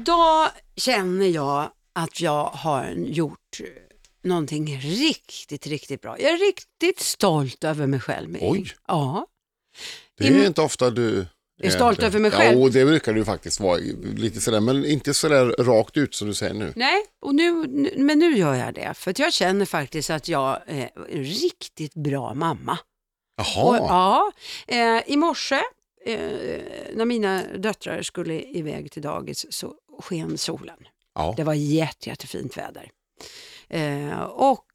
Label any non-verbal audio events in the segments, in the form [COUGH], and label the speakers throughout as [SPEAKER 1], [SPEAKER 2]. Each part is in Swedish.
[SPEAKER 1] Idag känner jag att jag har gjort någonting riktigt, riktigt bra. Jag är riktigt stolt över mig själv.
[SPEAKER 2] Oj.
[SPEAKER 1] Ja.
[SPEAKER 2] Det är inte ofta du
[SPEAKER 1] Är stolt
[SPEAKER 2] det.
[SPEAKER 1] över mig själv.
[SPEAKER 2] Ja, och det brukar du faktiskt vara. Lite sådär, men inte sådär rakt ut som du säger nu.
[SPEAKER 1] Nej, och nu, nu- men nu gör jag det. För att jag känner faktiskt att jag är en riktigt bra mamma. Och,
[SPEAKER 2] Jaha,
[SPEAKER 1] ja, eh, I morse eh, när mina döttrar skulle iväg till dagis så sken solen.
[SPEAKER 2] ja.
[SPEAKER 1] Det var jätte, jättefint väder. Eh, och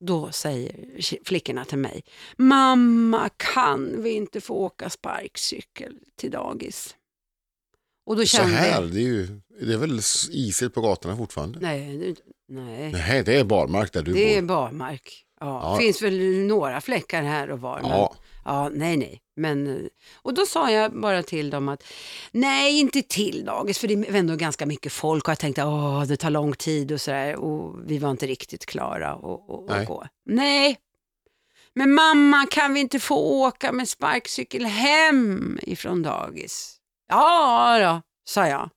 [SPEAKER 1] då säger tje- flickorna till mig, mamma kan vi inte få åka sparkcykel till dagis? Och då
[SPEAKER 2] så
[SPEAKER 1] kände
[SPEAKER 2] här.
[SPEAKER 1] jag,
[SPEAKER 2] Det är, ju, det är väl isigt på gatorna fortfarande?
[SPEAKER 1] nej, det är inte- nej,
[SPEAKER 2] Nej, det är barmark där du
[SPEAKER 1] det är
[SPEAKER 2] bor.
[SPEAKER 1] barmark. Ja,
[SPEAKER 2] Ja.
[SPEAKER 1] finns väl några fläckar här och var. men-
[SPEAKER 2] Ja,
[SPEAKER 1] Ja, nej, nej. Men, eh, och då sa jag bara till dem att nej, inte till dagis, för det är ändå ganska mycket folk och jag tänkte att det tar lång tid och sådär och vi var inte riktigt klara och, och, och
[SPEAKER 2] Nej.
[SPEAKER 1] gå. Nej, men mamma kan vi inte få åka med sparkcykel hem ifrån dagis? Ja då, sa jag.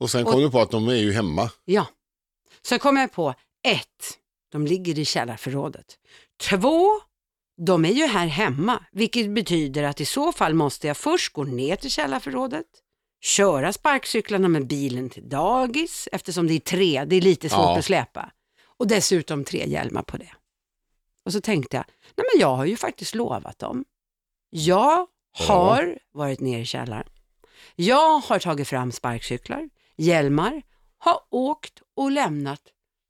[SPEAKER 2] och sen kom du på att de är ju hemma.
[SPEAKER 1] Ja. Sen kom jag på, ett, de ligger i källarförrådet. Två, de är ju här hemma, vilket betyder att i så fall måste jag först gå ner till källarförrådet, köra sparkcyklarna med bilen till dagis, eftersom det är tre, det är lite svårt
[SPEAKER 2] Ja.
[SPEAKER 1] att släpa. Och dessutom tre hjälmar på det. Och så tänkte jag, nej men jag har ju faktiskt lovat dem. Jag
[SPEAKER 2] Ja.
[SPEAKER 1] har varit nere i källaren. Jag har tagit fram sparkcyklar, hjälmar, har åkt och lämnat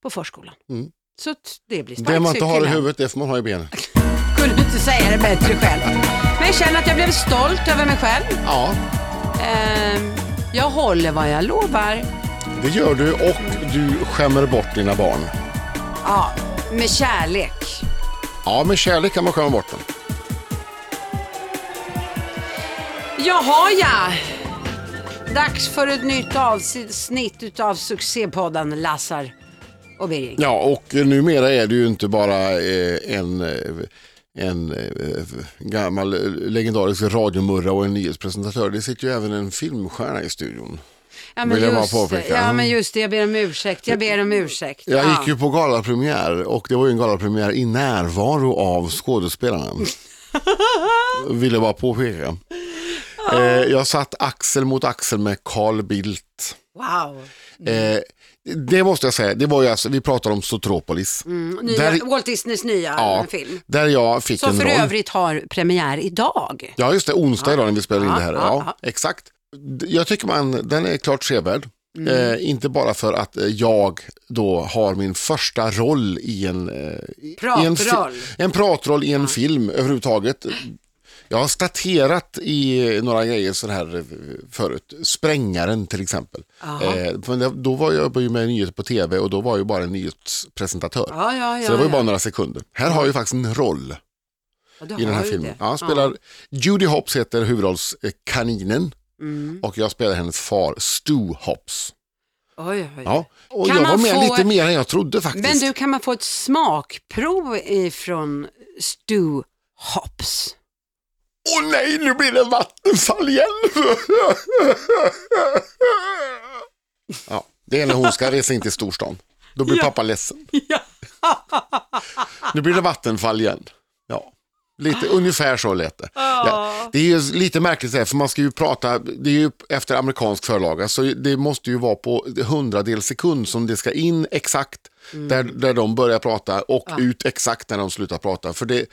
[SPEAKER 1] på förskolan.
[SPEAKER 2] Mm.
[SPEAKER 1] Så att det blir
[SPEAKER 2] Det man inte har i
[SPEAKER 1] sparkcyklarna.
[SPEAKER 2] huvudet, det får man ha
[SPEAKER 1] [LAUGHS]
[SPEAKER 2] i benen.
[SPEAKER 1] Kunde inte säga det bättre själv. Men jag känner att jag blev stolt över mig själv.
[SPEAKER 2] Ja,
[SPEAKER 1] Ehm, jag håller vad jag lovar.
[SPEAKER 2] det gör du och du skämmer bort dina barn.
[SPEAKER 1] Ja, med kärlek.
[SPEAKER 2] Ja, med kärlek kan man skämma bort dem.
[SPEAKER 1] Jaha ja! Dags för ett nytt avsnitt utav succépodden Lassar och Birgit.
[SPEAKER 2] Ja, och numera är det ju inte bara eh, en, eh, en eh, gammal eh, legendarisk radiomurra och en nyhetspresentatör. Det sitter ju även en filmstjärna i studion.
[SPEAKER 1] Ja
[SPEAKER 2] vill jag bara
[SPEAKER 1] just, det.
[SPEAKER 2] påpeka. Mm.
[SPEAKER 1] ja men just det, jag ber om ursäkt. Jag ber om ursäkt.
[SPEAKER 2] Jag
[SPEAKER 1] Ja.
[SPEAKER 2] gick ju på galapremiär och det var ju en galapremiär i närvaro av skådespelarna.
[SPEAKER 1] [LAUGHS]
[SPEAKER 2] Ville bara påpeka. Eh, jag satt axel mot axel med Carl Bildt.
[SPEAKER 1] Wow.
[SPEAKER 2] Eh, det måste jag säga, det var ju alltså, vi pratar om Sotropolis.
[SPEAKER 1] Mm, Nya,
[SPEAKER 2] Där-
[SPEAKER 1] Walt Disneys nya
[SPEAKER 2] Ja,
[SPEAKER 1] film.
[SPEAKER 2] där jag fick
[SPEAKER 1] Som
[SPEAKER 2] en
[SPEAKER 1] för
[SPEAKER 2] roll.
[SPEAKER 1] övrigt har premiär idag.
[SPEAKER 2] Ja, just det. Onsdag idag när vi spelar in
[SPEAKER 1] Ja,
[SPEAKER 2] det här.
[SPEAKER 1] ja,
[SPEAKER 2] Ja,
[SPEAKER 1] ja.
[SPEAKER 2] Exakt. D- Jag tycker man, den är klart sevärd.
[SPEAKER 1] Mm.
[SPEAKER 2] Eh, inte bara för att eh, jag då har min första roll i en... Eh, i- i en, fi-
[SPEAKER 1] Pratroll.
[SPEAKER 2] en pratroll i en film överhuvudtaget. Jag har staterat i några grejer så här eh, förut. Sprängaren till exempel.
[SPEAKER 1] Jaha.
[SPEAKER 2] Eh, men det- då var jag ju med i nyheter på tv och då var jag ju bara en nyhetspresentatör.
[SPEAKER 1] Ja, ja, ja.
[SPEAKER 2] så det var ju
[SPEAKER 1] ja.
[SPEAKER 2] bara några sekunder. Här har jag ju faktiskt en roll
[SPEAKER 1] ja, du
[SPEAKER 2] i den
[SPEAKER 1] har
[SPEAKER 2] här
[SPEAKER 1] ju
[SPEAKER 2] filmen.
[SPEAKER 1] det.
[SPEAKER 2] Ja, han spelar, Judy Hopps heter huvudrollskaninen
[SPEAKER 1] Mm.
[SPEAKER 2] och jag spelar hennes far Stu Hopps.
[SPEAKER 1] Oj, oj.
[SPEAKER 2] Ja, och
[SPEAKER 1] Kan
[SPEAKER 2] jag var
[SPEAKER 1] man
[SPEAKER 2] med
[SPEAKER 1] få-
[SPEAKER 2] lite mer än jag trodde faktiskt.
[SPEAKER 1] Men du, kan man få ett smakprov ifrån Stu Hops?
[SPEAKER 2] Åh nej, nu blir det vattenfall igen! [LAUGHS] ja, det är när hon ska resa in till storstan. Då blir pappa ledsen.
[SPEAKER 1] [LAUGHS] Ja.
[SPEAKER 2] Nu blir det vattenfall igen. Ja, lite ungefär så lät det. Ja, det är ju lite märkligt det här, för man ska ju prata, det är ju efter amerikansk förlaga, så det måste ju vara på hundradels sekund som det ska in exakt där, där de börjar prata och ut exakt när de slutar prata. För det,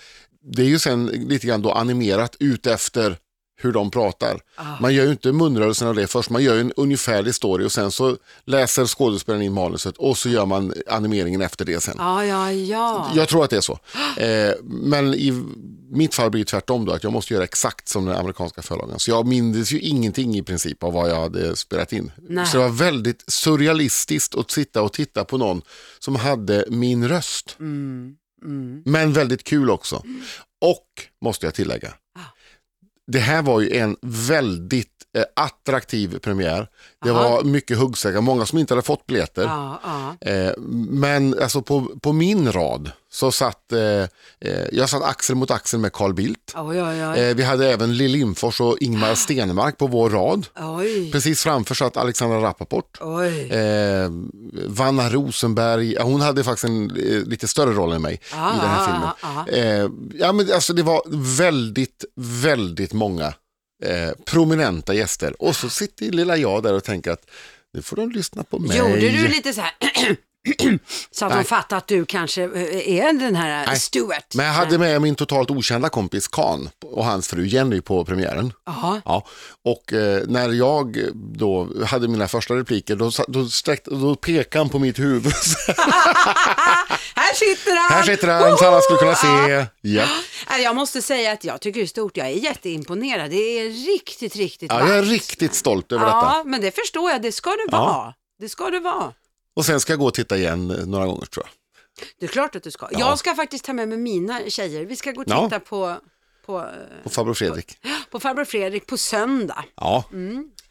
[SPEAKER 2] det är ju sen lite grann då animerat ut efter hur de pratar. Man gör ju inte munrörelsen av det först, man gör ju en ungefärlig story och sen så läser skådespelaren in manuset och så gör man animeringen efter det sen.
[SPEAKER 1] Ja, ja, ja.
[SPEAKER 2] Jag tror att det är så. Eh, men i mitt fall blir det tvärtom då, att jag måste göra exakt som den amerikanska förlagen. Så jag mindes ju ingenting i princip av vad jag hade spelat in.
[SPEAKER 1] Nej.
[SPEAKER 2] Så det var väldigt surrealistiskt att sitta och titta på någon som hade min röst.
[SPEAKER 1] Mm, mm.
[SPEAKER 2] Men väldigt kul också. Och, måste jag tillägga, det här var ju en väldigt eh, attraktiv premiär. Det
[SPEAKER 1] Aha.
[SPEAKER 2] var mycket huggsäckar, många som inte hade fått biljetter.
[SPEAKER 1] Ja, ja.
[SPEAKER 2] Eh, men alltså på, på min rad så satt, eh, eh, jag satt axel mot axel med Carl Bildt.
[SPEAKER 1] Oj, oj, oj.
[SPEAKER 2] Eh, vi hade även Lill Lindfors och Ingmar Stenmark på vår rad.
[SPEAKER 1] Oj,
[SPEAKER 2] Precis framför satt Alexandra Rappaport.
[SPEAKER 1] oj.
[SPEAKER 2] Eh, Vanna Rosenberg, ja, hon hade faktiskt en eh, lite större roll än mig i den här filmen.
[SPEAKER 1] Ah, ah, ah.
[SPEAKER 2] Eh, ja, men alltså, det var väldigt, väldigt många eh, prominenta gäster. Och så sitter lilla jag där och tänker att nu får de lyssna på mig.
[SPEAKER 1] Gjorde du lite så här [CLEARS THROAT] så att de
[SPEAKER 2] Nej.
[SPEAKER 1] fattar att du kanske eh, är den här
[SPEAKER 2] Nej.
[SPEAKER 1] Stuart?
[SPEAKER 2] Men jag hade med min totalt okända kompis Kan och hans fru Jenny på premiären.
[SPEAKER 1] Ja,
[SPEAKER 2] Ja. Och eh, när jag då hade mina första repliker då, sa- då, sträckte, då pekade han på mitt huvud. [LAUGHS]
[SPEAKER 1] Ah, här sitter han!
[SPEAKER 2] Här sitter han så alla skulle kunna
[SPEAKER 1] Woho!
[SPEAKER 2] se. Ja.
[SPEAKER 1] Ja. Äh, Jag måste säga att jag tycker det är stort, jag är jätteimponerad. Det är riktigt, riktigt
[SPEAKER 2] Ja, jag är riktigt stolt över detta.
[SPEAKER 1] Ja, men det förstår jag, det ska du
[SPEAKER 2] Ja.
[SPEAKER 1] vara. Det ska du vara.
[SPEAKER 2] Och sen ska jag gå och titta igen eh, några gånger tror jag.
[SPEAKER 1] Det är klart att du ska.
[SPEAKER 2] Ja.
[SPEAKER 1] Jag ska faktiskt ta med mig mina tjejer. Vi ska gå och
[SPEAKER 2] Ja.
[SPEAKER 1] titta på, på, eh,
[SPEAKER 2] På Farbror Fredrik.
[SPEAKER 1] på farbror Fredrik på söndag.
[SPEAKER 2] Ja,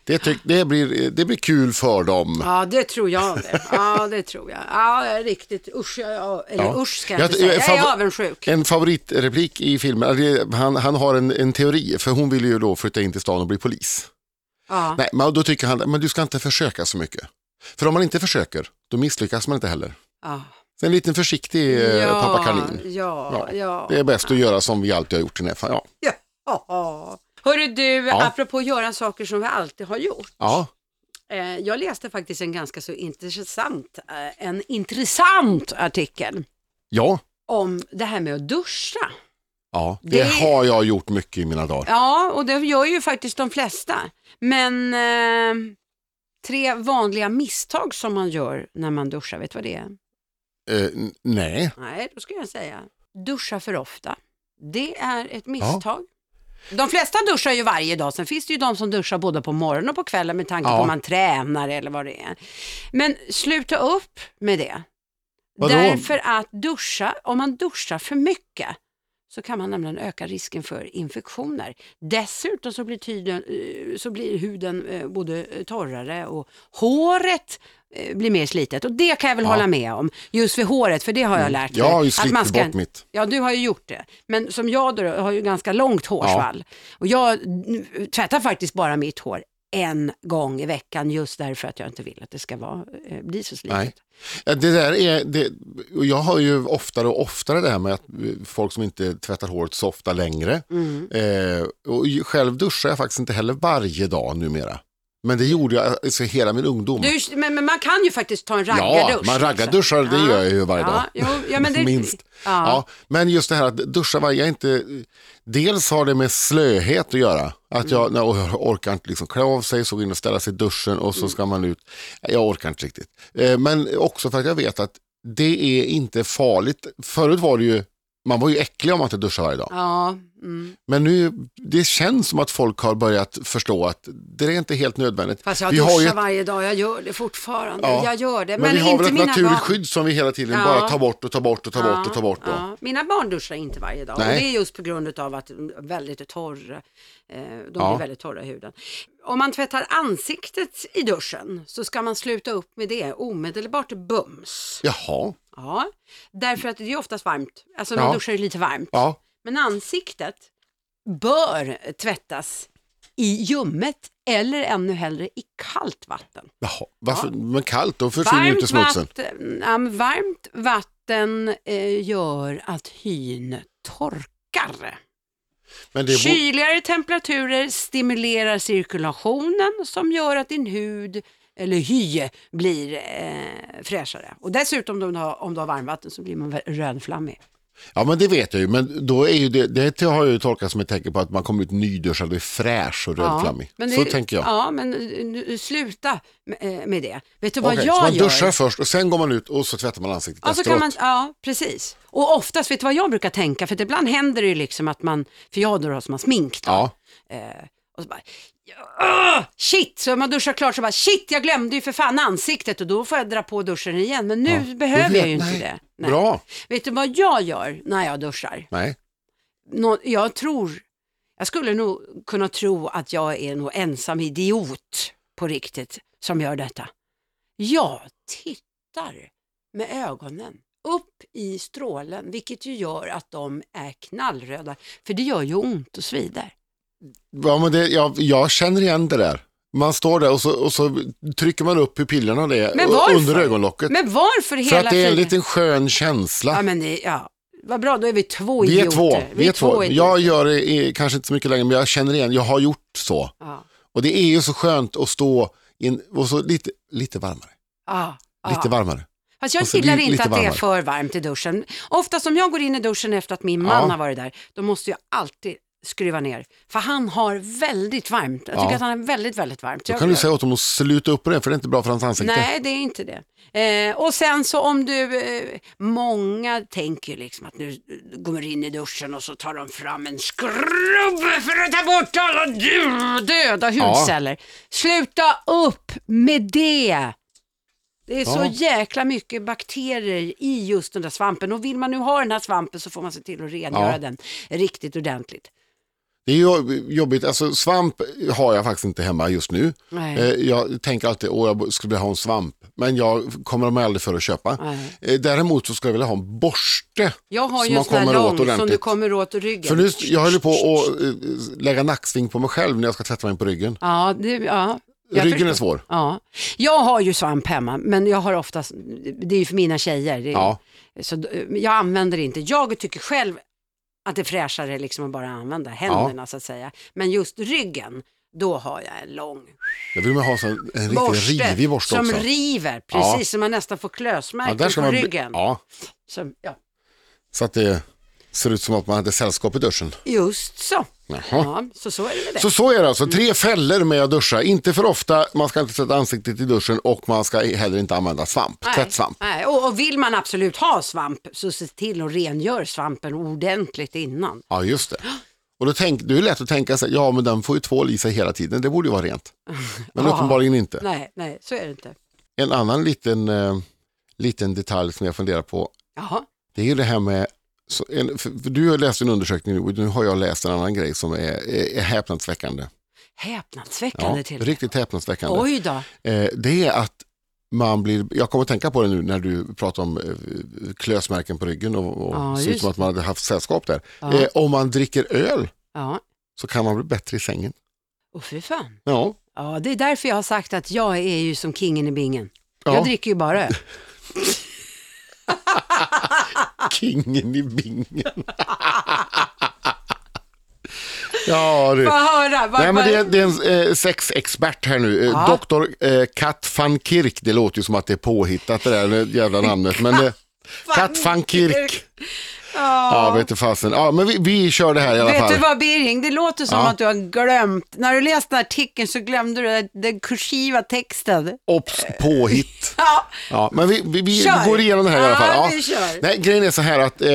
[SPEAKER 2] det, tyck, det, blir, det blir kul för dem.
[SPEAKER 1] Mm. Ja, det tror jag det. Ja, det tror jag. Ja, jag är riktigt usch, jag- jag, eller
[SPEAKER 2] Ja.
[SPEAKER 1] usch ska jag,
[SPEAKER 2] Jag-
[SPEAKER 1] inte säga. Jag är
[SPEAKER 2] favor-
[SPEAKER 1] avundsjuk.
[SPEAKER 2] En favoritreplik i filmen, eller det- han, han har en, en teori, för hon vill ju då flytta in till stan och bli polis.
[SPEAKER 1] Ja.
[SPEAKER 2] Nej, men då tycker han, men du ska inte försöka så mycket. För om man inte försöker, då misslyckas man inte heller.
[SPEAKER 1] Ja.
[SPEAKER 2] Så en liten försiktig eh, pappa kanin.
[SPEAKER 1] Ja, ja. ja.
[SPEAKER 2] Det är bäst att göra som vi alltid har gjort i den här fallet. Ja.
[SPEAKER 1] Ja. Hörru du,
[SPEAKER 2] Ja.
[SPEAKER 1] apropå att göra saker som vi alltid har gjort.
[SPEAKER 2] ja,
[SPEAKER 1] Eh, jag läste faktiskt en ganska så intressant, eh, en intressant artikel
[SPEAKER 2] ja,
[SPEAKER 1] om det här med att duscha.
[SPEAKER 2] ja. Det,
[SPEAKER 1] Det-
[SPEAKER 2] har jag gjort mycket i mina dagar.
[SPEAKER 1] Ja, och det gör ju faktiskt de flesta. Men eh, tre vanliga misstag som man gör när man duschar, vet du vad det är?
[SPEAKER 2] Eh, n- nej,
[SPEAKER 1] Nej, då skulle jag säga duscha för ofta. Det är ett misstag. De flesta duschar ju varje dag, sen finns det ju de som duschar både på morgonen och på kvällen med tanke på
[SPEAKER 2] Ja.
[SPEAKER 1] om man tränar eller vad det är. Men sluta upp med det.
[SPEAKER 2] Vadå?
[SPEAKER 1] Därför att duscha, om man duschar för mycket så kan man nämligen öka risken för infektioner. Dessutom så blir, tiden, eh, så blir huden eh, både torrare och håret eh, blir mer slitet. Och det kan jag väl
[SPEAKER 2] Ja. Mm.
[SPEAKER 1] hålla med om, just för håret, för det har jag lärt mig.
[SPEAKER 2] jag har ju
[SPEAKER 1] Att man
[SPEAKER 2] slippt
[SPEAKER 1] ska-
[SPEAKER 2] bort mitt.
[SPEAKER 1] Ja, du har ju gjort det. Men som jag då, har ju ganska långt hårsvall. Och jag n- tvättar faktiskt bara mitt hår en gång i veckan just därför att jag inte vill att det ska vara, eh, bli så slitet.
[SPEAKER 2] Nej. Ja, Det där är, det, och jag hör ju oftare och oftare det här med att eh, folk som inte tvättar håret så ofta längre.
[SPEAKER 1] Mm.
[SPEAKER 2] Eh, och ju- själv duschar jag faktiskt inte heller varje dag numera. Men det gjorde jag alltså, hela min ungdom.
[SPEAKER 1] Du, men, men man kan ju faktiskt ta en raggardusch. liksom.
[SPEAKER 2] ja, man raggarduschar, det
[SPEAKER 1] Ja.
[SPEAKER 2] gör jag ju varje
[SPEAKER 1] Ja,
[SPEAKER 2] dag.
[SPEAKER 1] jo, ja,
[SPEAKER 2] [LAUGHS]
[SPEAKER 1] men det-
[SPEAKER 2] Minst.
[SPEAKER 1] ja.
[SPEAKER 2] Ja. men just det här att duscha varje, jag är inte, dels har det med slöhet att göra. Att
[SPEAKER 1] Mm.
[SPEAKER 2] jag, nej, och jag orkar inte liksom klä av sig, så gå in och ställa sig i duschen och
[SPEAKER 1] Mm.
[SPEAKER 2] så ska man ut. Jag orkar inte riktigt. Eh, Men också för att jag vet att det är inte farligt. Förut var det ju, man var ju äcklig om man inte duschade varje dag.
[SPEAKER 1] Ja, mm.
[SPEAKER 2] Men nu, det känns som att folk har börjat förstå att det är inte helt nödvändigt.
[SPEAKER 1] fast jag
[SPEAKER 2] Vi
[SPEAKER 1] duschar
[SPEAKER 2] har ju ett-
[SPEAKER 1] varje dag, jag gör det fortfarande.
[SPEAKER 2] Ja.
[SPEAKER 1] Jag gör det,
[SPEAKER 2] men,
[SPEAKER 1] men,
[SPEAKER 2] vi har
[SPEAKER 1] inte
[SPEAKER 2] väl ett
[SPEAKER 1] mina
[SPEAKER 2] naturligt
[SPEAKER 1] barn.
[SPEAKER 2] skydd som vi hela tiden
[SPEAKER 1] Ja.
[SPEAKER 2] bara tar bort och tar bort och tar bort och
[SPEAKER 1] Ja,
[SPEAKER 2] tar bort. Då.
[SPEAKER 1] ja. Mina barn duschar inte varje dag och
[SPEAKER 2] Nej.
[SPEAKER 1] det är just på grund av att de är väldigt torra. eh, De
[SPEAKER 2] Ja.
[SPEAKER 1] blir väldigt torra i huden. Om man tvättar ansiktet i duschen så ska man sluta upp med det omedelbart bums.
[SPEAKER 2] Jaha,
[SPEAKER 1] Ja, därför att det är oftast varmt. Alltså man
[SPEAKER 2] Ja.
[SPEAKER 1] duschar ju lite varmt.
[SPEAKER 2] ja.
[SPEAKER 1] Men ansiktet bör tvättas i ljummet eller ännu hellre i kallt vatten.
[SPEAKER 2] Jaha, varför? Men kallt, då försvinner ju inte smutsen.
[SPEAKER 1] vatten, ja, men varmt vatten eh, gör att hyn torkar.
[SPEAKER 2] Men det borde,
[SPEAKER 1] Kyligare temperaturer stimulerar cirkulationen som gör att din hud eller hy blir eh, fräschare. Och dessutom om du har, om du har varmvatten så blir man väl rödflammig.
[SPEAKER 2] ja men det vet jag ju, men då är ju det, det har jag ju tolkat som ett tecken på att man kommer ut nyduschad och är fräsch och rödflammig.
[SPEAKER 1] men det-
[SPEAKER 2] så tänker jag.
[SPEAKER 1] Ja, men eh, sluta med- eh, med det. Vet du vad
[SPEAKER 2] Okej, så
[SPEAKER 1] jag
[SPEAKER 2] man
[SPEAKER 1] gör?
[SPEAKER 2] duschar först och sen går man ut och så tvättar man ansiktet
[SPEAKER 1] Ja, så kan
[SPEAKER 2] efteråt.
[SPEAKER 1] man, ja, precis. Och oftast, vet du vad jag brukar tänka? För att ibland händer det ju liksom att man, för jag då har som har smink då,
[SPEAKER 2] Ja,
[SPEAKER 1] och så bara, "Åh, shit, så man duschar klart så bara, shit, jag glömde ju för fan ansiktet och då får jag dra på duschen igen. Men nu behöver
[SPEAKER 2] Du vet-
[SPEAKER 1] jag ju inte
[SPEAKER 2] nej.
[SPEAKER 1] det. Nej.
[SPEAKER 2] Bra,
[SPEAKER 1] Vet du vad jag gör när jag duschar?
[SPEAKER 2] nej.
[SPEAKER 1] Nå, jag tror, jag skulle nog kunna tro att jag är nog ensam idiot på riktigt som gör detta. Jag tittar med ögonen upp i strålen, vilket ju gör att de är knallröda. För det gör ju ont och svider.
[SPEAKER 2] Ja, men det, jag, jag känner igen det där. Man står där och så, och så trycker man upp pupillerna det,
[SPEAKER 1] Men varför?
[SPEAKER 2] under ögonlocket.
[SPEAKER 1] Men varför hela
[SPEAKER 2] För att det är en
[SPEAKER 1] tiden?
[SPEAKER 2] liten skön känsla.
[SPEAKER 1] Ja, men det, ja. Vad bra, då är vi två
[SPEAKER 2] vi är
[SPEAKER 1] idioter.
[SPEAKER 2] två. Vi är två.
[SPEAKER 1] idioter.
[SPEAKER 2] Jag gör det i, kanske inte så mycket längre, men jag känner igen, jag har gjort så.
[SPEAKER 1] Ja.
[SPEAKER 2] Och det är ju så skönt att stå in, och så lite, lite varmare.
[SPEAKER 1] Ja. Ja.
[SPEAKER 2] Lite varmare.
[SPEAKER 1] Fast jag
[SPEAKER 2] Alltså, det
[SPEAKER 1] gillar
[SPEAKER 2] blir
[SPEAKER 1] inte
[SPEAKER 2] lite
[SPEAKER 1] att det är
[SPEAKER 2] varmare.
[SPEAKER 1] för varmt i duschen. Ofta som jag går in i duschen efter att min man
[SPEAKER 2] Ja.
[SPEAKER 1] har varit där, då måste jag alltid skruva ner. För han har väldigt varmt. Jag tycker
[SPEAKER 2] Ja.
[SPEAKER 1] att han är väldigt, väldigt varmt.
[SPEAKER 2] Då
[SPEAKER 1] Jag-
[SPEAKER 2] kan du säga åt dem att sluta upp med det, för det är inte bra för hans ansikte.
[SPEAKER 1] Nej, det är inte det. Eh, och sen så om du, eh, många tänker ju liksom att nu går in i duschen och så tar de fram en skrubb för att ta bort alla dö- döda
[SPEAKER 2] Ja.
[SPEAKER 1] hudceller. Sluta upp med det! Det är så
[SPEAKER 2] Ja.
[SPEAKER 1] jäkla mycket bakterier i just den där svampen och vill man nu ha den här svampen så får man se till att rengöra
[SPEAKER 2] Ja.
[SPEAKER 1] den riktigt ordentligt.
[SPEAKER 2] Det är ju jobbigt, alltså svamp har jag faktiskt inte hemma just nu.
[SPEAKER 1] Nej.
[SPEAKER 2] Eh, Jag tänker alltid, åh jag skulle vilja ha en svamp, men jag kommer de aldrig för att köpa.
[SPEAKER 1] Nej.
[SPEAKER 2] Eh, Däremot så skulle jag vilja ha en borste.
[SPEAKER 1] Jag har
[SPEAKER 2] som
[SPEAKER 1] ju en
[SPEAKER 2] man
[SPEAKER 1] sån här
[SPEAKER 2] kommer åt
[SPEAKER 1] lång som du
[SPEAKER 2] ordentligt.
[SPEAKER 1] kommer åt ryggen.
[SPEAKER 2] För nu, jag höll ju på att eh, lägga nacksving på mig själv när jag ska tvätta mig på ryggen.
[SPEAKER 1] Ja, det, ja. Jag
[SPEAKER 2] Ryggen
[SPEAKER 1] förstår.
[SPEAKER 2] är svår.
[SPEAKER 1] Ja. Jag har ju svamp hemma, men jag har oftast, det är ju för mina tjejer. Det är,
[SPEAKER 2] Ja.
[SPEAKER 1] Så d- jag använder det inte. Jag tycker själv att det är fräschare liksom att bara använda händerna så att säga. Men just ryggen, då har jag en lång
[SPEAKER 2] Jag vill man ha en sån- en riktigt
[SPEAKER 1] borste,
[SPEAKER 2] rivig borste
[SPEAKER 1] som
[SPEAKER 2] också.
[SPEAKER 1] river,
[SPEAKER 2] Ja.
[SPEAKER 1] precis som man nästan får klösmärken på
[SPEAKER 2] bli-
[SPEAKER 1] ryggen.
[SPEAKER 2] ja,
[SPEAKER 1] Så, ja.
[SPEAKER 2] så att det ser ut som att man hade sällskap i duschen.
[SPEAKER 1] Just så.
[SPEAKER 2] Jaha.
[SPEAKER 1] Ja, så så är det med det.
[SPEAKER 2] Så så är det alltså, tre fällor med att duscha. Inte för ofta, man ska inte tvätta ansiktet i duschen och man ska heller inte använda svamp,
[SPEAKER 1] Nej,
[SPEAKER 2] tvättsvamp.
[SPEAKER 1] Nej. Och, och vill man absolut ha svamp så se till att rengör svampen ordentligt innan.
[SPEAKER 2] Ja, just det. Och då tänk, det är ju lätt att tänka sig, ja men den får ju tvål i sig hela tiden, det borde ju vara rent. Men
[SPEAKER 1] Ja.
[SPEAKER 2] uppenbarligen inte.
[SPEAKER 1] Nej, nej, så är det inte.
[SPEAKER 2] En annan liten, eh, liten detalj som jag funderar på,
[SPEAKER 1] Jaha.
[SPEAKER 2] det är ju det här med, så en, för, för du har läst en undersökning nu och nu har jag läst en annan grej som är, är, är häpnadsväckande.
[SPEAKER 1] Häpnadsväckande till och med.
[SPEAKER 2] riktigt häpnadsväckande.
[SPEAKER 1] Oj då.
[SPEAKER 2] Eh, det är att man blir, jag kommer att tänka på det nu när du pratar om eh, klösmärken på ryggen och, och
[SPEAKER 1] Ja,
[SPEAKER 2] ser ut
[SPEAKER 1] just
[SPEAKER 2] som att man hade haft sällskap där.
[SPEAKER 1] Ja.
[SPEAKER 2] Eh, om man dricker öl
[SPEAKER 1] Ja.
[SPEAKER 2] så kan man bli bättre i sängen.
[SPEAKER 1] Och fy fan. [LAUGHS]
[SPEAKER 2] Ja,
[SPEAKER 1] Ja, det är därför jag har sagt att jag är ju som kingen i bingen.
[SPEAKER 2] Ja.
[SPEAKER 1] Jag dricker ju bara
[SPEAKER 2] [LAUGHS]
[SPEAKER 1] öl.
[SPEAKER 2] kingen i bingen. [LAUGHS] ja, du.
[SPEAKER 1] Få höra. Var,
[SPEAKER 2] Nej, men det, är- det är en eh, sexexpert här nu, eh,
[SPEAKER 1] Ja.
[SPEAKER 2] doktor eh, Kat van Kirk. Det låter ju som att det är påhittat det där jävla namnet. Men det, Kat van Kirk. Ja, vet du fasen. Ja, men vi, vi kör det här i alla
[SPEAKER 1] Vet
[SPEAKER 2] fall.
[SPEAKER 1] du vad Birging, det låter som
[SPEAKER 2] Ja.
[SPEAKER 1] att du har glömt. När du läste artikeln så glömde du den kursiva texten.
[SPEAKER 2] Obs, påhitt.
[SPEAKER 1] [LAUGHS] Ja,
[SPEAKER 2] Ja, men vi, vi, vi
[SPEAKER 1] Kör.
[SPEAKER 2] går igenom det här i alla fall.
[SPEAKER 1] Ja, vi kör.
[SPEAKER 2] Nej, grejen är så här att eh,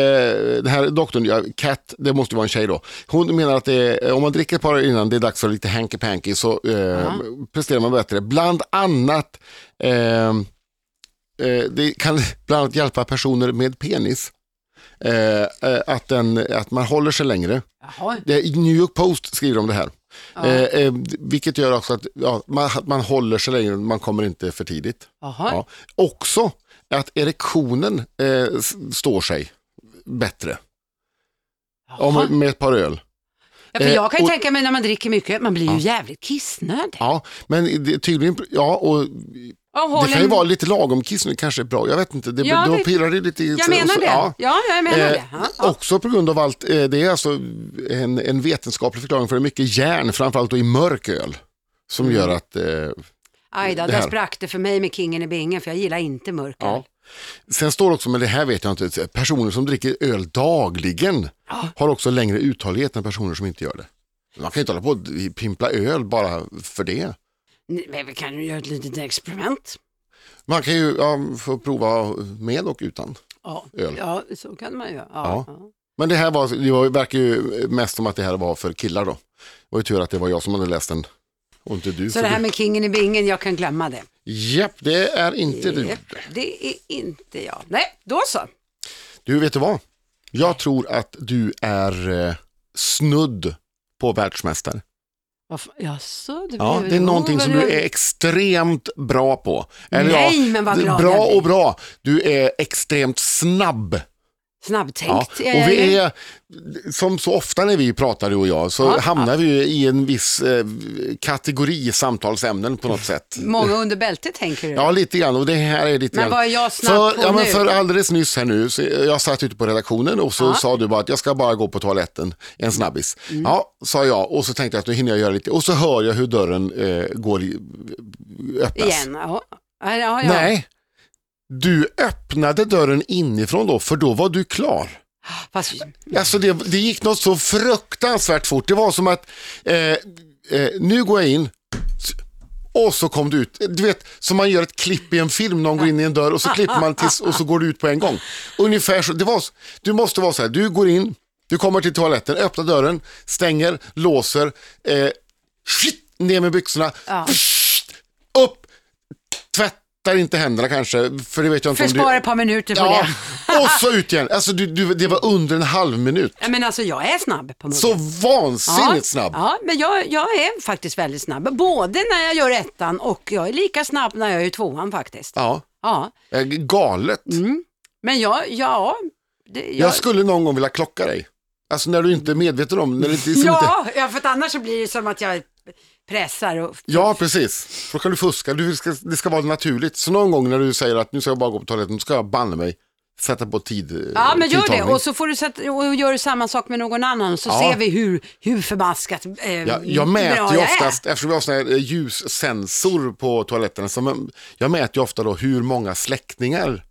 [SPEAKER 2] den här doktorn, ja, Kat, det måste ju vara en tjej då. Hon menar att det är, om man dricker ett par öl innan det är dags för lite hanky panky så eh, presterar man bättre. Bland annat, eh, eh, det kan [LAUGHS] bland annat hjälpa personer med penis. Eh, eh, att, den, att man håller sig längre.
[SPEAKER 1] Jaha.
[SPEAKER 2] Det, Eh, i New York Post skriver om det här. Eh, eh, vilket gör också att ja, man, att man håller sig längre, man kommer inte för tidigt.
[SPEAKER 1] Jaha.
[SPEAKER 2] Ja. Också att erektionen eh, s- står sig bättre
[SPEAKER 1] Jaha.
[SPEAKER 2] om, med ett par öl.
[SPEAKER 1] Ja, för jag kan ju
[SPEAKER 2] eh, och-
[SPEAKER 1] tänka mig när man dricker mycket, man blir ju jävligt kissnödig.
[SPEAKER 2] Ja, men det, tydligen, ja, och
[SPEAKER 1] Och
[SPEAKER 2] det
[SPEAKER 1] håller
[SPEAKER 2] kan ju
[SPEAKER 1] en-
[SPEAKER 2] vara lite lagom kiss nu kanske är bra, jag vet inte, det,
[SPEAKER 1] Ja,
[SPEAKER 2] då
[SPEAKER 1] det-
[SPEAKER 2] pirrar det lite i
[SPEAKER 1] Jag menar
[SPEAKER 2] så-
[SPEAKER 1] det. Ja,
[SPEAKER 2] ja.
[SPEAKER 1] jag menar
[SPEAKER 2] Eh,
[SPEAKER 1] det. Ja, ja.
[SPEAKER 2] Också på grund av allt, eh, det är alltså en, en vetenskaplig förklaring för det är mycket järn, framförallt då i mörk öl, som
[SPEAKER 1] Mm.
[SPEAKER 2] gör att eh,
[SPEAKER 1] Aj då,
[SPEAKER 2] det
[SPEAKER 1] där
[SPEAKER 2] här.
[SPEAKER 1] sprack det för mig med kingen i bingen för jag gillar inte mörker.
[SPEAKER 2] Ja. Sen står det också, men det här vet jag inte, personer som dricker öl dagligen har också längre uthållighet än personer som inte gör det. Man kan ju inte hålla på och pimpla öl bara för det.
[SPEAKER 1] Nej, Men vi kan ju göra ett litet experiment.
[SPEAKER 2] Man kan ju ja, få prova med och utan.
[SPEAKER 1] Ja,
[SPEAKER 2] Öl.
[SPEAKER 1] ja så kan man ju. Ja,
[SPEAKER 2] Ja.
[SPEAKER 1] ja.
[SPEAKER 2] Men det här var, det var, verkar ju mest som att det här var för killar då. Det var ju tur att det var jag som hade läst den och inte du.
[SPEAKER 1] Så det här med kingen i bingen, jag kan glömma det.
[SPEAKER 2] Japp, det är inte du.
[SPEAKER 1] Japp, Det är inte jag. Nej, då så.
[SPEAKER 2] Du, vet du vad? Jag tror att du är eh, snudd på världsmästare.
[SPEAKER 1] Vad fa- Jaså, det,
[SPEAKER 2] Ja,
[SPEAKER 1] blev-
[SPEAKER 2] det är
[SPEAKER 1] jo,
[SPEAKER 2] någonting
[SPEAKER 1] vad
[SPEAKER 2] som du är extremt bra på.
[SPEAKER 1] Nej, men vad bra
[SPEAKER 2] Bra
[SPEAKER 1] jag blir.
[SPEAKER 2] och bra. Du är extremt snabb. Ja,
[SPEAKER 1] Snabbtänkt
[SPEAKER 2] och vi är, som så ofta när vi pratar du och jag, så
[SPEAKER 1] Ja.
[SPEAKER 2] hamnar vi ju i en viss eh, kategori samtalsämnen på något sätt.
[SPEAKER 1] Många under bältet tänker du?
[SPEAKER 2] Ja, lite grann. Och det här är lite
[SPEAKER 1] Mm. Men
[SPEAKER 2] grann.
[SPEAKER 1] vad är jag snabb
[SPEAKER 2] för,
[SPEAKER 1] på
[SPEAKER 2] ja, men
[SPEAKER 1] nu?
[SPEAKER 2] För alldeles nyss här nu, så jag satt ute på redaktionen och så
[SPEAKER 1] Ja. Mm.
[SPEAKER 2] sa du bara att jag ska bara gå på toaletten, en snabbis. Ja, sa jag och så tänkte jag att nu hinner jag göra lite. Och så hör jag hur dörren eh, går i, öppnas.
[SPEAKER 1] Igen, ja. Ja, ja, ja.
[SPEAKER 2] Nej, du öppnade dörren inifrån då, för då var du klar.
[SPEAKER 1] Fast,
[SPEAKER 2] Alltså det, det gick något så fruktansvärt fort. Det var som att eh, eh, nu går jag in och så kom du ut. Du vet, som man gör ett klipp i en film när de går in i en dörr och så klipper man tills, och så går du ut på en gång. Ungefär så. Det var, s- du måste vara så här, du går in, du kommer till toaletten, öppnar dörren, stänger, låser, eh, shit, ner med byxorna,
[SPEAKER 1] Ja.
[SPEAKER 2] pssst, upp, tvättar inte händerna kanske, för det vet jag inte
[SPEAKER 1] för att
[SPEAKER 2] om du...
[SPEAKER 1] spara ett par minuter på
[SPEAKER 2] Ja,
[SPEAKER 1] det.
[SPEAKER 2] och så ut igen. Alltså, du, du, det var under en halv minut.
[SPEAKER 1] Ja, men alltså jag är snabb på munnen.
[SPEAKER 2] Så vansinnigt
[SPEAKER 1] ja,
[SPEAKER 2] snabb.
[SPEAKER 1] Ja, men jag, jag är faktiskt väldigt snabb. Både när jag gör ettan och jag är lika snabb när jag gör tvåan faktiskt.
[SPEAKER 2] Ja.
[SPEAKER 1] Ja,
[SPEAKER 2] eh, Galet.
[SPEAKER 1] men jag, Mm, ja. Det, jag,
[SPEAKER 2] Jag skulle någon gång vilja klocka dig. Alltså när du inte är medveten om, när det inte, som liksom inte...
[SPEAKER 1] ja, ja, för att annars så blir det som att jag pressar och
[SPEAKER 2] Ja, precis. Då kan du fuska. Du ska, det ska vara naturligt. Så någon gång när du säger att nu ska jag bara gå på toaletten, då ska jag banne mig sätta på tid. eh,
[SPEAKER 1] Ja, men gör det.
[SPEAKER 2] tidtagning.
[SPEAKER 1] Och så får du sätta, och gör du samma sak med någon annan så
[SPEAKER 2] Ja.
[SPEAKER 1] ser vi hur, hur förbaskat eh,
[SPEAKER 2] Ja, jag mäter
[SPEAKER 1] bra
[SPEAKER 2] ju
[SPEAKER 1] jag är.
[SPEAKER 2] oftast, eftersom vi har såna här eh, ljussensor på toaletterna, så man- jag mäter ju ofta då hur många släckningar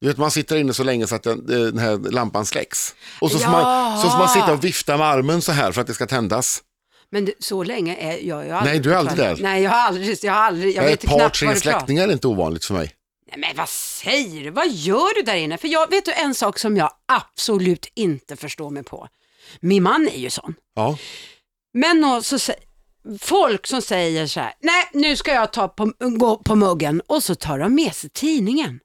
[SPEAKER 2] du vet, man sitter inne så länge så att den, eh, den här lampan släcks. Och så får, man, så får man sitta och vifta med armen så här för att det ska tändas.
[SPEAKER 1] Men det- så länge är jag, jag har
[SPEAKER 2] Nej, du är aldrig där.
[SPEAKER 1] Nej, jag har aldrig, jag har aldrig, jag
[SPEAKER 2] Nej,
[SPEAKER 1] vet
[SPEAKER 2] ett par,
[SPEAKER 1] knappt vad
[SPEAKER 2] tre
[SPEAKER 1] du pratar.
[SPEAKER 2] släktingar är inte ovanligt för mig.
[SPEAKER 1] Nej, men vad säger du? Vad gör du där inne? För jag, vet du en sak som jag absolut inte förstår mig på? Min man är ju sån.
[SPEAKER 2] Ja.
[SPEAKER 1] Men nå- så, sä- folk som säger så här, nej nu ska jag ta på, gå på muggen och så tar de med sig tidningen.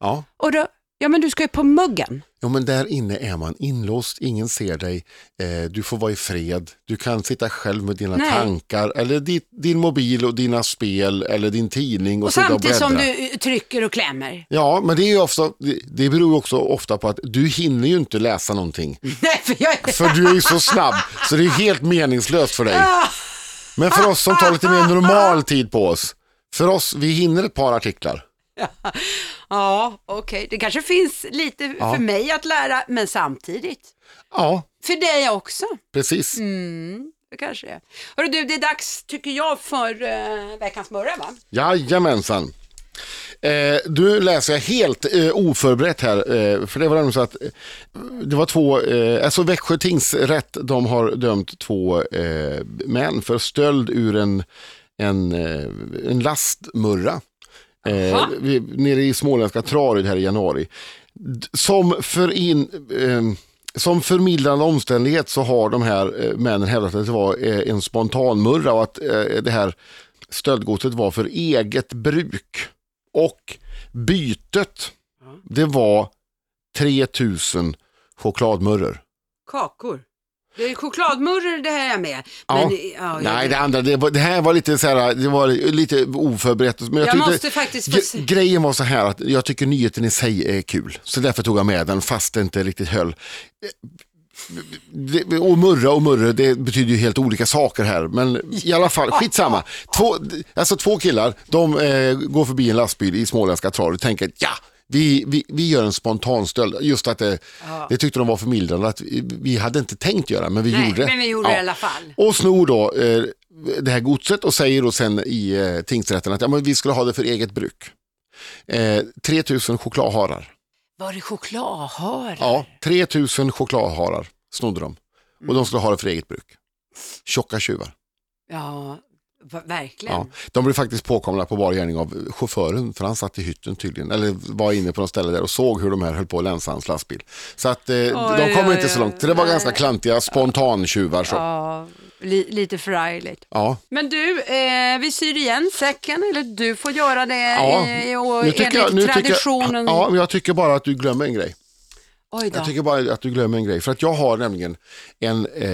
[SPEAKER 2] ja.
[SPEAKER 1] Och då, ja men du ska ju på muggen.
[SPEAKER 2] Jo, men där inne är man inlåst, ingen ser dig, eh, du får vara i fred, du kan sitta själv med dina
[SPEAKER 1] Nej.
[SPEAKER 2] tankar, eller ditt, din mobil och dina spel, eller din tidning och,
[SPEAKER 1] Och
[SPEAKER 2] sitta och
[SPEAKER 1] samtidigt som
[SPEAKER 2] bläddra.
[SPEAKER 1] du eh, trycker och klämmer. [LAUGHS]
[SPEAKER 2] Ja, men det, är ju ofta, det- det beror ju också ofta på att du hinner ju inte läsa någonting.
[SPEAKER 1] Nej, för jag är...
[SPEAKER 2] För du är ju så snabb, så det är helt meningslöst för dig.
[SPEAKER 1] Ah!
[SPEAKER 2] Men för oss som tar lite mer normal tid på oss, för oss, vi hinner ett par artiklar.
[SPEAKER 1] Ja, okej. Det kanske finns lite
[SPEAKER 2] Ja.
[SPEAKER 1] för mig att lära, men samtidigt.
[SPEAKER 2] Ja,
[SPEAKER 1] För dig också.
[SPEAKER 2] precis.
[SPEAKER 1] Mm, det kanske är. Hörru du, det är dags, tycker jag, för eh, veckans murra, va?
[SPEAKER 2] Jajamensan. Eh, du läser jag helt eh, oförberett här, eh, för det var nämligen så att eh, det var två, eh, alltså Växjö tingsrätt, de har dömt två eh, män för stöld ur en, en, eh, en lastmurra. Eh,
[SPEAKER 1] Jaha.
[SPEAKER 2] vi, nere i småländska Traryd här i januari. D- Som, för in, eh, som förmildrande omständighet så har de här eh, männen hävdat att det var eh, en spontanmurra och att eh, det här stöldgodset var för eget bruk. Och bytet, det var 3000 chokladmurror.
[SPEAKER 1] Kakor. Det är chokladmurror det här är med.
[SPEAKER 2] Ja.
[SPEAKER 1] Men, ja, jag-
[SPEAKER 2] Nej, det andra, det, var, det här var lite så här, det var lite oförberett. Men jag,
[SPEAKER 1] jag
[SPEAKER 2] tyckte-
[SPEAKER 1] måste faktiskt få
[SPEAKER 2] Gre-
[SPEAKER 1] se.
[SPEAKER 2] Grejen var så här att jag tycker nyheten i sig är kul. Så därför tog jag med den fast det inte riktigt höll. Det, och murra och murra, det betyder ju helt olika saker här. Men i alla fall, skitsamma. Två, alltså två killar, de eh, går förbi en lastbil i småländska trav och tänker ja, vi, vi, vi gör en spontanstöld. Just att det, det tyckte de var förmildrande, att vi, vi hade inte tänkt göra, men vi
[SPEAKER 1] Nej,
[SPEAKER 2] gjorde det.
[SPEAKER 1] men vi gjorde
[SPEAKER 2] Ja.
[SPEAKER 1] det i alla fall.
[SPEAKER 2] Och snor då eh, det här godset och säger då sen i eh, tingsrätten att ja, men vi skulle ha det för eget bruk. Eh, 3000 chokladharar.
[SPEAKER 1] Var det chokladhare?
[SPEAKER 2] Ja, 3000 chokladharar snodde de. Och de skulle ha det för eget bruk. Tjocka tjuvar.
[SPEAKER 1] Ja, va- verkligen.
[SPEAKER 2] Ja. De blev faktiskt påkomna på bar gärning av chauffören för han satt i hytten tydligen. Eller var inne på något ställe där och såg hur de här höll på att länsa hans lastbil. Så att eh, de kom
[SPEAKER 1] oj,
[SPEAKER 2] inte så
[SPEAKER 1] oj.
[SPEAKER 2] långt. Så det var
[SPEAKER 1] Nej.
[SPEAKER 2] ganska klantiga spontantjuvar. Så.
[SPEAKER 1] Ja, li- lite förargligt.
[SPEAKER 2] Ja.
[SPEAKER 1] Men du, eh, vi syr igen säcken, eller du får göra det eh, och enligt
[SPEAKER 2] nu tycker jag-
[SPEAKER 1] traditionen.
[SPEAKER 2] ja, men jag tycker bara att du glömmer en grej.
[SPEAKER 1] Oj då.
[SPEAKER 2] Jag tycker bara att du glömmer en grej. För att jag har nämligen en, eh,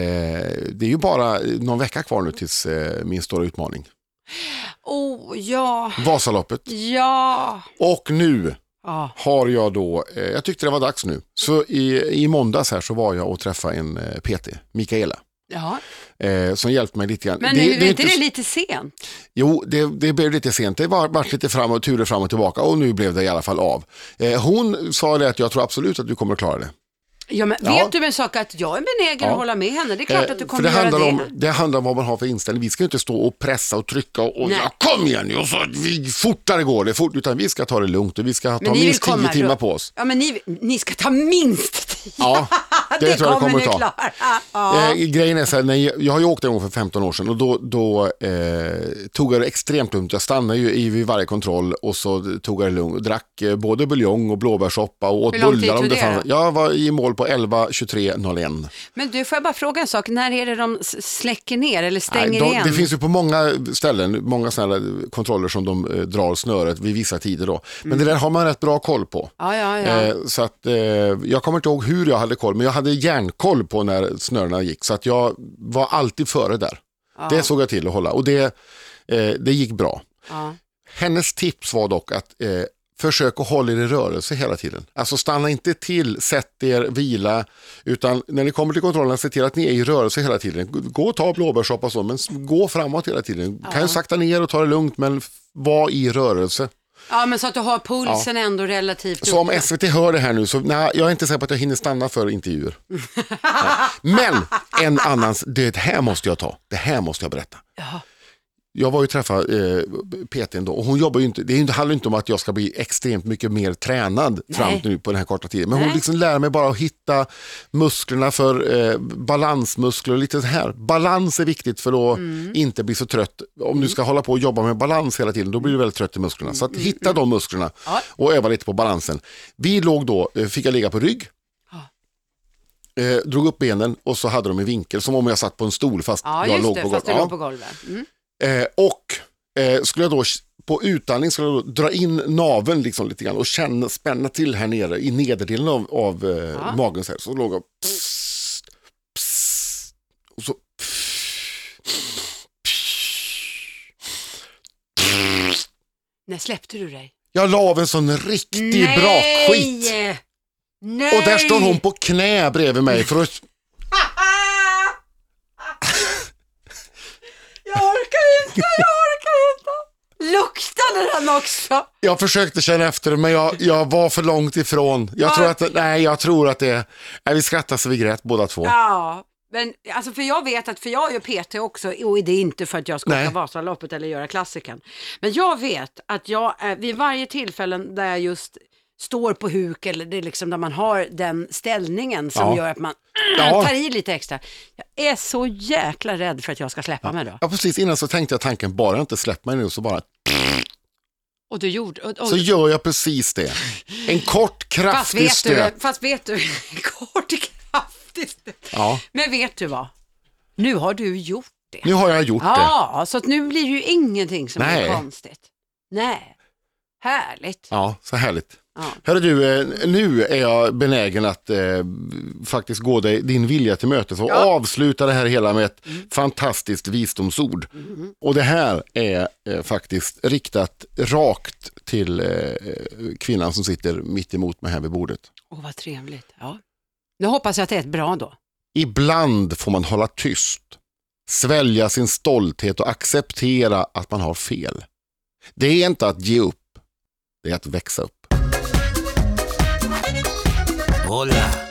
[SPEAKER 2] det är ju bara någon vecka kvar nu tills eh, min stora utmaning.
[SPEAKER 1] Oh, ja.
[SPEAKER 2] Vasaloppet.
[SPEAKER 1] Ja.
[SPEAKER 2] Och nu
[SPEAKER 1] Ja.
[SPEAKER 2] har jag då, eh, jag tyckte det var dags nu. Så i, i måndags här så var jag och träffade en eh, PT, Mikaela.
[SPEAKER 1] ja.
[SPEAKER 2] Eh, som hjälpte mig lite grann.
[SPEAKER 1] Men är inte det
[SPEAKER 2] så-
[SPEAKER 1] lite sent?
[SPEAKER 2] Jo, det, det blev lite sent. Det var varit lite fram och turer fram och tillbaka och nu blev det i alla fall av. Eh, hon sa det att jag tror absolut att du kommer att klara det.
[SPEAKER 1] Ja, men
[SPEAKER 2] Ja.
[SPEAKER 1] Vet du en sak att jag är benägen
[SPEAKER 2] Ja.
[SPEAKER 1] att hålla med henne. Det är klart
[SPEAKER 2] Eh,
[SPEAKER 1] att du
[SPEAKER 2] för
[SPEAKER 1] kommer
[SPEAKER 2] det
[SPEAKER 1] göra
[SPEAKER 2] handlar
[SPEAKER 1] det.
[SPEAKER 2] Om, det handlar om vad man har för inställning. Vi ska ju inte stå och pressa och trycka och, och
[SPEAKER 1] Nej.
[SPEAKER 2] ja, kom igen nu och så att vi fortare går det, fort, utan vi ska ta det lugnt och vi ska ta
[SPEAKER 1] ni vill
[SPEAKER 2] minst tio
[SPEAKER 1] komma
[SPEAKER 2] timmar
[SPEAKER 1] runt.
[SPEAKER 2] på oss.
[SPEAKER 1] Ja, men ni, ni ska ta minst tio. [LAUGHS]
[SPEAKER 2] Ja, det, tror jag det kommer att ta.
[SPEAKER 1] klara. Ja.
[SPEAKER 2] Eh, grejen är så här, när jag, jag har ju åkt en gång för 15 år sedan och då, då eh, tog jag det extremt lugnt. Jag stannade ju i- vid varje kontroll och så tog jag det lugnt. Drack eh, både buljong och blåbärssoppa och åt
[SPEAKER 1] Hur lång tid
[SPEAKER 2] bullar om
[SPEAKER 1] tog
[SPEAKER 2] det
[SPEAKER 1] det
[SPEAKER 2] fanns.
[SPEAKER 1] då?
[SPEAKER 2] Jag var i mål på 11, 23, 01.
[SPEAKER 1] Men du, får jag bara fråga en sak? När är det de s- släcker ner eller stänger
[SPEAKER 2] Nej, de,
[SPEAKER 1] igen?
[SPEAKER 2] Det finns ju på många ställen, många sådana här kontroller som de eh, drar snöret vid vissa tider då. Men det där har man rätt bra koll på.
[SPEAKER 1] Mm. Ja, ja, ja.
[SPEAKER 2] Eh, så att, eh, jag kommer inte ihåg hur jag hade koll, men jag hade järnkoll på när snörena gick. Så att jag var alltid före där.
[SPEAKER 1] ja.
[SPEAKER 2] Det såg jag till att hålla och det, eh, det gick bra.
[SPEAKER 1] ja.
[SPEAKER 2] Hennes tips var dock att eh, försök att hålla er i rörelse hela tiden. Alltså stanna inte till, sätt er, vila, utan när ni kommer till kontrollen, se till att ni är i rörelse hela tiden. Gå och ta blåbärssoppa och så, men s- gå framåt hela tiden. Kan ju sakta ner och ta det lugnt, men f- var i rörelse.
[SPEAKER 1] ja, men så att du har pulsen ändå relativt
[SPEAKER 2] Så om
[SPEAKER 1] uppe.
[SPEAKER 2] SVT hör det här nu, så nej, jag är inte säker på att jag hinner stanna
[SPEAKER 1] [LAUGHS]
[SPEAKER 2] för intervjuer. Ja. Men en annans, det här måste jag ta, det här måste jag berätta.
[SPEAKER 1] Ja.
[SPEAKER 2] Jag var ju träffa eh, PTn då och hon jobbar ju inte, det är ju inte- handlar ju inte om att jag ska bli extremt mycket mer tränad fram till nu på den här korta tiden. Men hon
[SPEAKER 1] Nej.
[SPEAKER 2] liksom lär mig bara att hitta musklerna för eh, balansmuskler och lite så här. Balans är viktigt för att
[SPEAKER 1] Mm.
[SPEAKER 2] inte bli så trött. Om du ska hålla på och jobba med balans hela tiden, då blir du väldigt trött i musklerna. Så att hitta
[SPEAKER 1] Mm,
[SPEAKER 2] de musklerna
[SPEAKER 1] Ja.
[SPEAKER 2] och öva lite på balansen. Vi låg då, eh, fick jag ligga på rygg. Eh, drog upp benen och så hade de en vinkel som om jag satt på en stol fast
[SPEAKER 1] Ja,
[SPEAKER 2] jag
[SPEAKER 1] just
[SPEAKER 2] låg
[SPEAKER 1] det,
[SPEAKER 2] på
[SPEAKER 1] fast
[SPEAKER 2] golvet.
[SPEAKER 1] du
[SPEAKER 2] Ja.
[SPEAKER 1] låg på golvet. Mm.
[SPEAKER 2] Eh, och eh, skulle jag då på utandning skulle jag då dra in naveln liksom lite grann och känna, spänna till här nere i nederdelen av, av eh, magen. Så, här. så låg jag psst, psst, och så
[SPEAKER 1] När släppte du dig?
[SPEAKER 2] jag la av en sån riktig brakskit.
[SPEAKER 1] Nej!
[SPEAKER 2] Och där står hon på knä bredvid mig för att
[SPEAKER 1] [LAUGHS] Jag orkar inte, jag orkar inte. Luktade den också?
[SPEAKER 2] Jag försökte känna efter men jag, jag var för långt ifrån. Jag tror att, nej jag tror att det, nej, vi skrattade så vi grät båda två.
[SPEAKER 1] Ja, men alltså för jag vet att, för jag är ju PT också, och det är inte för att jag ska
[SPEAKER 2] Nej.
[SPEAKER 1] åka Vasaloppet eller göra klassiken. Men jag vet att jag, eh, vid varje tillfälle där jag just står på huk eller det är liksom där man har den ställningen som
[SPEAKER 2] Ja.
[SPEAKER 1] gör att man [CLEARS THROAT]
[SPEAKER 2] Ja.
[SPEAKER 1] tar i lite extra. Jag är så jäkla rädd för att jag ska släppa mig då.
[SPEAKER 2] Ja precis innan så tänkte jag tanken, bara jag inte släpper mig nu så bara,
[SPEAKER 1] Och du gjorde, och, och,
[SPEAKER 2] så gör jag precis det. En kort
[SPEAKER 1] fast,
[SPEAKER 2] kraftig
[SPEAKER 1] vet du,
[SPEAKER 2] stöt.
[SPEAKER 1] fast vet du, kort och kraftigt.
[SPEAKER 2] Ja,
[SPEAKER 1] Men vet du vad? Nu har du gjort det.
[SPEAKER 2] nu har jag gjort det.
[SPEAKER 1] Ja, så att nu blir det ju ingenting som
[SPEAKER 2] Nej.
[SPEAKER 1] är konstigt. Nej, härligt.
[SPEAKER 2] Ja, så härligt.
[SPEAKER 1] Ja.
[SPEAKER 2] Hörru du, eh, nu är jag benägen att eh, faktiskt gå dig, din vilja till mötes och avsluta det här hela med ett fantastiskt visdomsord. Och det här är eh, faktiskt riktat rakt till eh, kvinnan som sitter mitt emot mig här vid bordet.
[SPEAKER 1] Åh, vad trevligt. Ja. Nu hoppas jag att det är ett bra då.
[SPEAKER 2] Ibland får man hålla tyst, svälja sin stolthet och acceptera att man har fel. Det är inte att ge upp, det är att växa upp.
[SPEAKER 3] Hola.